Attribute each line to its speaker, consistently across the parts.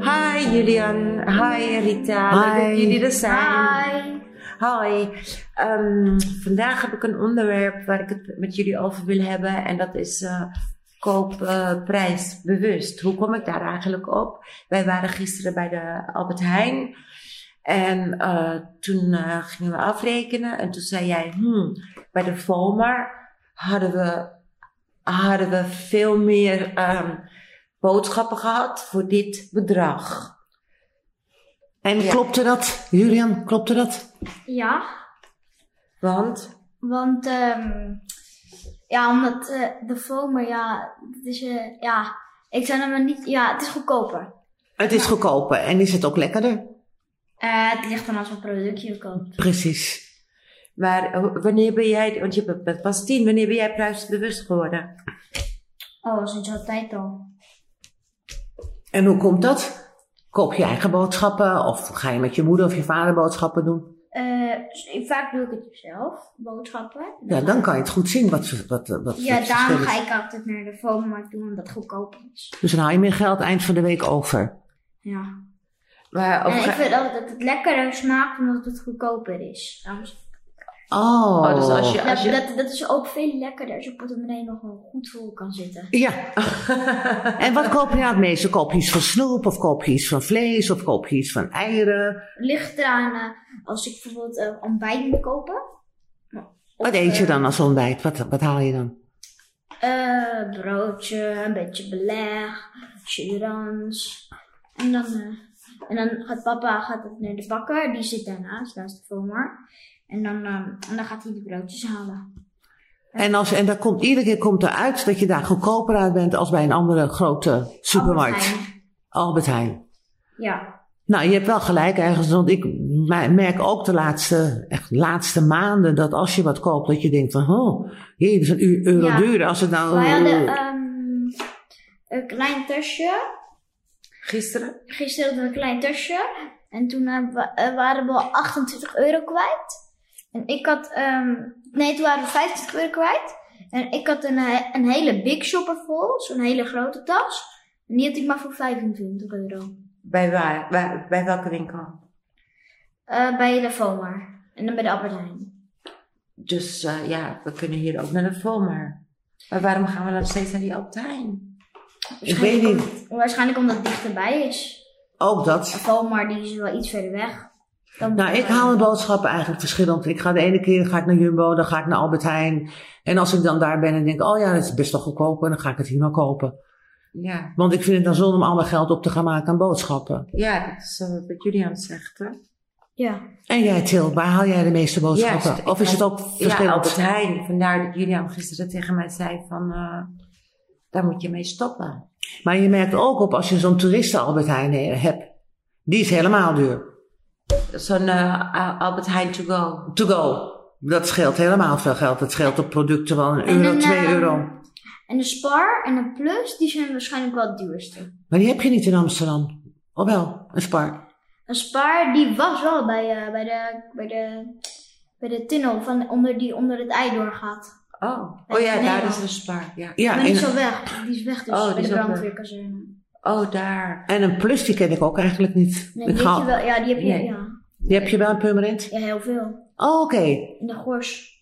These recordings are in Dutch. Speaker 1: Hi Julian, hi Rita, leuk dat
Speaker 2: Hi.
Speaker 1: jullie er zijn.
Speaker 3: Hi.
Speaker 1: Hi. Ehm, vandaag heb ik een onderwerp waar ik het met jullie over wil hebben en dat is eh koopprijsbewust. Hoe kom ik daar eigenlijk op? Wij waren gisteren bij de Albert Heijn en eh, toen eh, gingen we afrekenen en toen zei jij, hmm, bij de FOMAR hadden we, hadden we veel meer ehm, boodschappen gehad voor dit bedrag.
Speaker 2: En
Speaker 1: Ja.
Speaker 2: klopte dat, Julian, klopte dat?
Speaker 3: Ja,
Speaker 1: Want
Speaker 3: want ehm, ja, omdat eh, de FOMA, ja, het is, eh, ja, ik zou hem maar niet, ja, het is goedkoper.
Speaker 2: Het is goedkoper en is het ook lekkerder?
Speaker 3: Eh, het ligt dan als een productje koopt.
Speaker 2: Precies.
Speaker 1: Maar eh, wanneer ben jij, want je bent pas tien, wanneer ben jij prijsbewust geworden?
Speaker 3: Oh, sinds altijd al.
Speaker 2: En hoe komt dat? Koop je eigen boodschappen of ga je met je moeder of je vader boodschappen doen?
Speaker 3: Eh, dus ik- vaak doe ik het zelf, boodschappen.
Speaker 2: Ja, dan kan je het goed zien wat, ze- wat, wat
Speaker 3: Ja,
Speaker 2: het
Speaker 3: daarom
Speaker 2: verschil is.
Speaker 3: ga ik altijd naar de FOMA doen, omdat het goedkoper is.
Speaker 2: Dus dan haal je meer geld eind van de week over.
Speaker 3: Ja.
Speaker 1: Maar, of
Speaker 3: En
Speaker 1: ga-
Speaker 3: ik vind altijd dat het lekkerder smaakt, omdat het goedkoper is. Daarom zeg ik-
Speaker 2: Oh.
Speaker 1: Oh, dus als je, als
Speaker 3: Dat,
Speaker 1: je,
Speaker 3: dat, dat is ook veel lekkerder als je portemonnee nog wel goed vol kan zitten.
Speaker 2: Ja. en wat koop je nou het meeste? Koop je iets van snoep of koop je iets van vlees of koop je iets van eieren?
Speaker 3: ligt eraan eh, als ik bijvoorbeeld eh, ontbijt moet kopen. Of,
Speaker 2: Wat eet je
Speaker 3: eh,
Speaker 2: dan als ontbijt? Wat, wat haal je dan?
Speaker 3: eh, broodje, een beetje beleg, chirans. En dan, eh, en dan gaat papa gaat het naar de bakker, die zit daarnaast, naast de former. En dan, eh, en dan gaat hij de broodjes halen.
Speaker 2: En, als, en daar komt, iedere keer komt eruit dat je daar goedkoper uit bent als bij een andere grote supermarkt.
Speaker 3: Albert
Speaker 2: Albert
Speaker 3: Heijn.
Speaker 2: Heijn.
Speaker 3: Ja,
Speaker 2: Nou, je hebt wel gelijk ergens, want ik me- merk ook de laatste, echt laatste maanden dat als je wat koopt, dat je denkt van, oh, hier dat is een u- euro
Speaker 3: Ja.
Speaker 2: duurder. Als het nou...
Speaker 3: wij hadden ehm, een klein tasje.
Speaker 1: gisteren?
Speaker 3: Gisteren hadden we een klein tasje. En toen eh, wa- eh, waren we al 28 euro kwijt. En ik had... ehm, nee, toen waren we 25 euro kwijt. En ik had een, eh, een hele big shopper vol. Zo'n hele grote tas. En die had ik maar voor 25 euro.
Speaker 1: Bij waar? Waar- bij welke winkel?
Speaker 3: Eh, bij de FOMAR. En dan bij de Albert Heijn.
Speaker 1: Dus eh, ja, we kunnen hier ook naar de Volmer. Maar waarom gaan we dan steeds naar die Alpijn?
Speaker 2: ik weet niet,
Speaker 3: Waarschijnlijk omdat het dichterbij is.
Speaker 2: ook
Speaker 3: De
Speaker 2: dat.
Speaker 3: FOMAR die is wel iets verder weg. Dan
Speaker 2: Nou, ik haal de boodschappen eigenlijk verschillend. Ik ga de ene keer ga ik naar Jumbo, dan ga ik naar Albert Heijn. En als ik dan daar ben en denk, oh ja, dat is best wel goedkoper, dan ga ik het hier maar kopen.
Speaker 1: Ja,
Speaker 2: Want ik vind het dan zonde om al mijn geld op te gaan maken aan boodschappen.
Speaker 1: ja dat is eh, wat Julian zegt. Hè?
Speaker 3: Ja.
Speaker 2: En jij Til, waar haal jij de meeste boodschappen?
Speaker 1: Ja,
Speaker 2: Oh,
Speaker 1: dus
Speaker 2: of is het ook
Speaker 1: Ja,
Speaker 2: verschillend?
Speaker 1: Albert Heijn. Vandaar dat Julian gisteren tegen mij zei van, eh, daar moet je mee stoppen.
Speaker 2: Maar je merkt ook op als je zo'n toeristen Albert Heijn he- hebt. Die is helemaal duur.
Speaker 1: Zo'n eh, Albert Heijn to go. Oh.
Speaker 2: To go. Dat scheelt helemaal veel geld. Dat scheelt op producten wel een euro,
Speaker 3: een,
Speaker 2: twee
Speaker 3: ehm,
Speaker 2: euro.
Speaker 3: En de Spar en de Plus, die zijn waarschijnlijk wel het duurste.
Speaker 2: Maar die heb je niet in Amsterdam. Of wel, een spar.
Speaker 3: Een spaar die was wel bij, eh, bij, de, bij, de, bij de tunnel van onder die onder het ei doorgaat.
Speaker 1: Oh, oh ja,
Speaker 3: Nee,
Speaker 1: daar
Speaker 3: man.
Speaker 1: is de spaar. Ja.
Speaker 2: Ja,
Speaker 3: maar die
Speaker 2: en,
Speaker 3: is al weg. Die is weg dus
Speaker 1: Oh, die
Speaker 3: bij
Speaker 1: is
Speaker 3: de
Speaker 1: al weg.
Speaker 3: brandweerkazerne.
Speaker 1: Oh, daar.
Speaker 2: en een plus die ken ik ook eigenlijk niet.
Speaker 3: Nee,
Speaker 2: ik
Speaker 3: die
Speaker 2: ga-
Speaker 3: heb je wel. Ja, die heb je,
Speaker 1: Nee.
Speaker 3: ja.
Speaker 2: die heb je wel in Purmerend?
Speaker 3: ja, heel veel.
Speaker 2: Oh, oké.
Speaker 3: In de gors.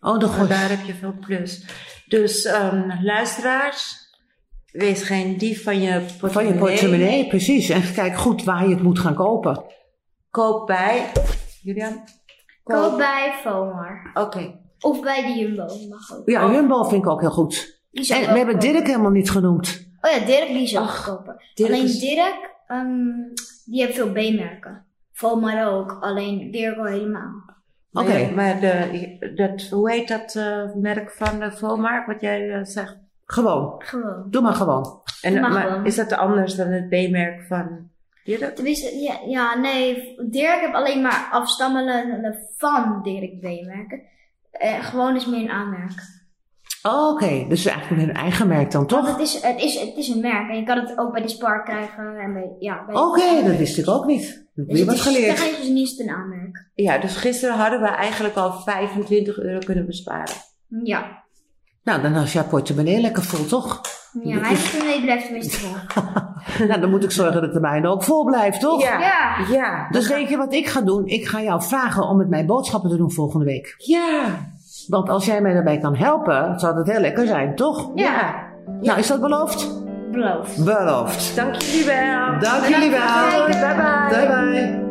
Speaker 2: Oh, de
Speaker 1: Maar
Speaker 2: god.
Speaker 1: daar heb je veel plus. Dus ehm, luisteraars, wees geen dief van je portemonnee.
Speaker 2: Van je portemonnee, precies. En kijk goed waar je het moet gaan kopen.
Speaker 1: Koop bij. Julian?
Speaker 3: Koop bij Fomar.
Speaker 1: Oké.
Speaker 3: Of bij de Jumbo. Mag ook.
Speaker 2: Ja, Jumbo vind ik ook heel goed.
Speaker 3: Die Oh. is ook
Speaker 2: En
Speaker 3: wel
Speaker 2: we hebben
Speaker 3: goedkoper.
Speaker 2: Dirk helemaal niet genoemd.
Speaker 3: Oh ja, Dirk die is ook
Speaker 1: Ach,
Speaker 3: goedkoper.
Speaker 1: Dirk
Speaker 3: alleen
Speaker 1: is-
Speaker 3: Dirk, ehm, die heeft veel B-merken. Fomar ook, alleen Dirk al helemaal.
Speaker 2: Oké.
Speaker 1: Nee, maar de, dat, hoe heet dat eh, merk van de Volmar, wat jij eh, zegt?
Speaker 2: Gewoon.
Speaker 3: Gewoon.
Speaker 2: Doe maar gewoon.
Speaker 1: En,
Speaker 3: Mag
Speaker 1: maar
Speaker 3: wel.
Speaker 1: is dat anders dan het B-merk van Dirk?
Speaker 3: Tenminste, ja, ja, nee, Dirk heb alleen maar afstammelende van Dirk B-merken. Eh, gewoon is meer een aanmerk.
Speaker 2: Oh, Oké, dus eigenlijk hun eigen merk dan
Speaker 3: Want
Speaker 2: toch?
Speaker 3: het is, het, is, het is een merk en je kan het ook bij de Spar krijgen. En bij, ja, bij
Speaker 2: Oké, dat wist ik ook niet. Ik heb
Speaker 3: Dus
Speaker 2: weer
Speaker 3: het
Speaker 2: wat
Speaker 3: is
Speaker 2: geleerd.
Speaker 3: technisch niet eens een aanmerk.
Speaker 1: Ja, dus gisteren hadden we eigenlijk al 25 euro kunnen besparen.
Speaker 3: Ja,
Speaker 2: Nou, dan is jouw portemonnee lekker vol, toch?
Speaker 3: Ja, mijn portemonnee blijft tenminste vol.
Speaker 2: nou, dan moet ik zorgen dat de mijne ook vol blijft, toch?
Speaker 1: Ja.
Speaker 3: Ja.
Speaker 1: Ja.
Speaker 2: Dus weet je wat ik ga doen? Ik ga jou vragen om met mij boodschappen te doen volgende week.
Speaker 1: Ja.
Speaker 2: Want als jij mij daarbij kan helpen, zou dat heel lekker zijn, toch?
Speaker 1: Ja.
Speaker 2: Nou, is dat beloofd?
Speaker 3: Beloofd.
Speaker 2: Beloofd.
Speaker 1: Dank jullie wel.
Speaker 2: Dank jullie wel.
Speaker 3: voor het kijken.
Speaker 1: Bye bye.
Speaker 2: Bye bye.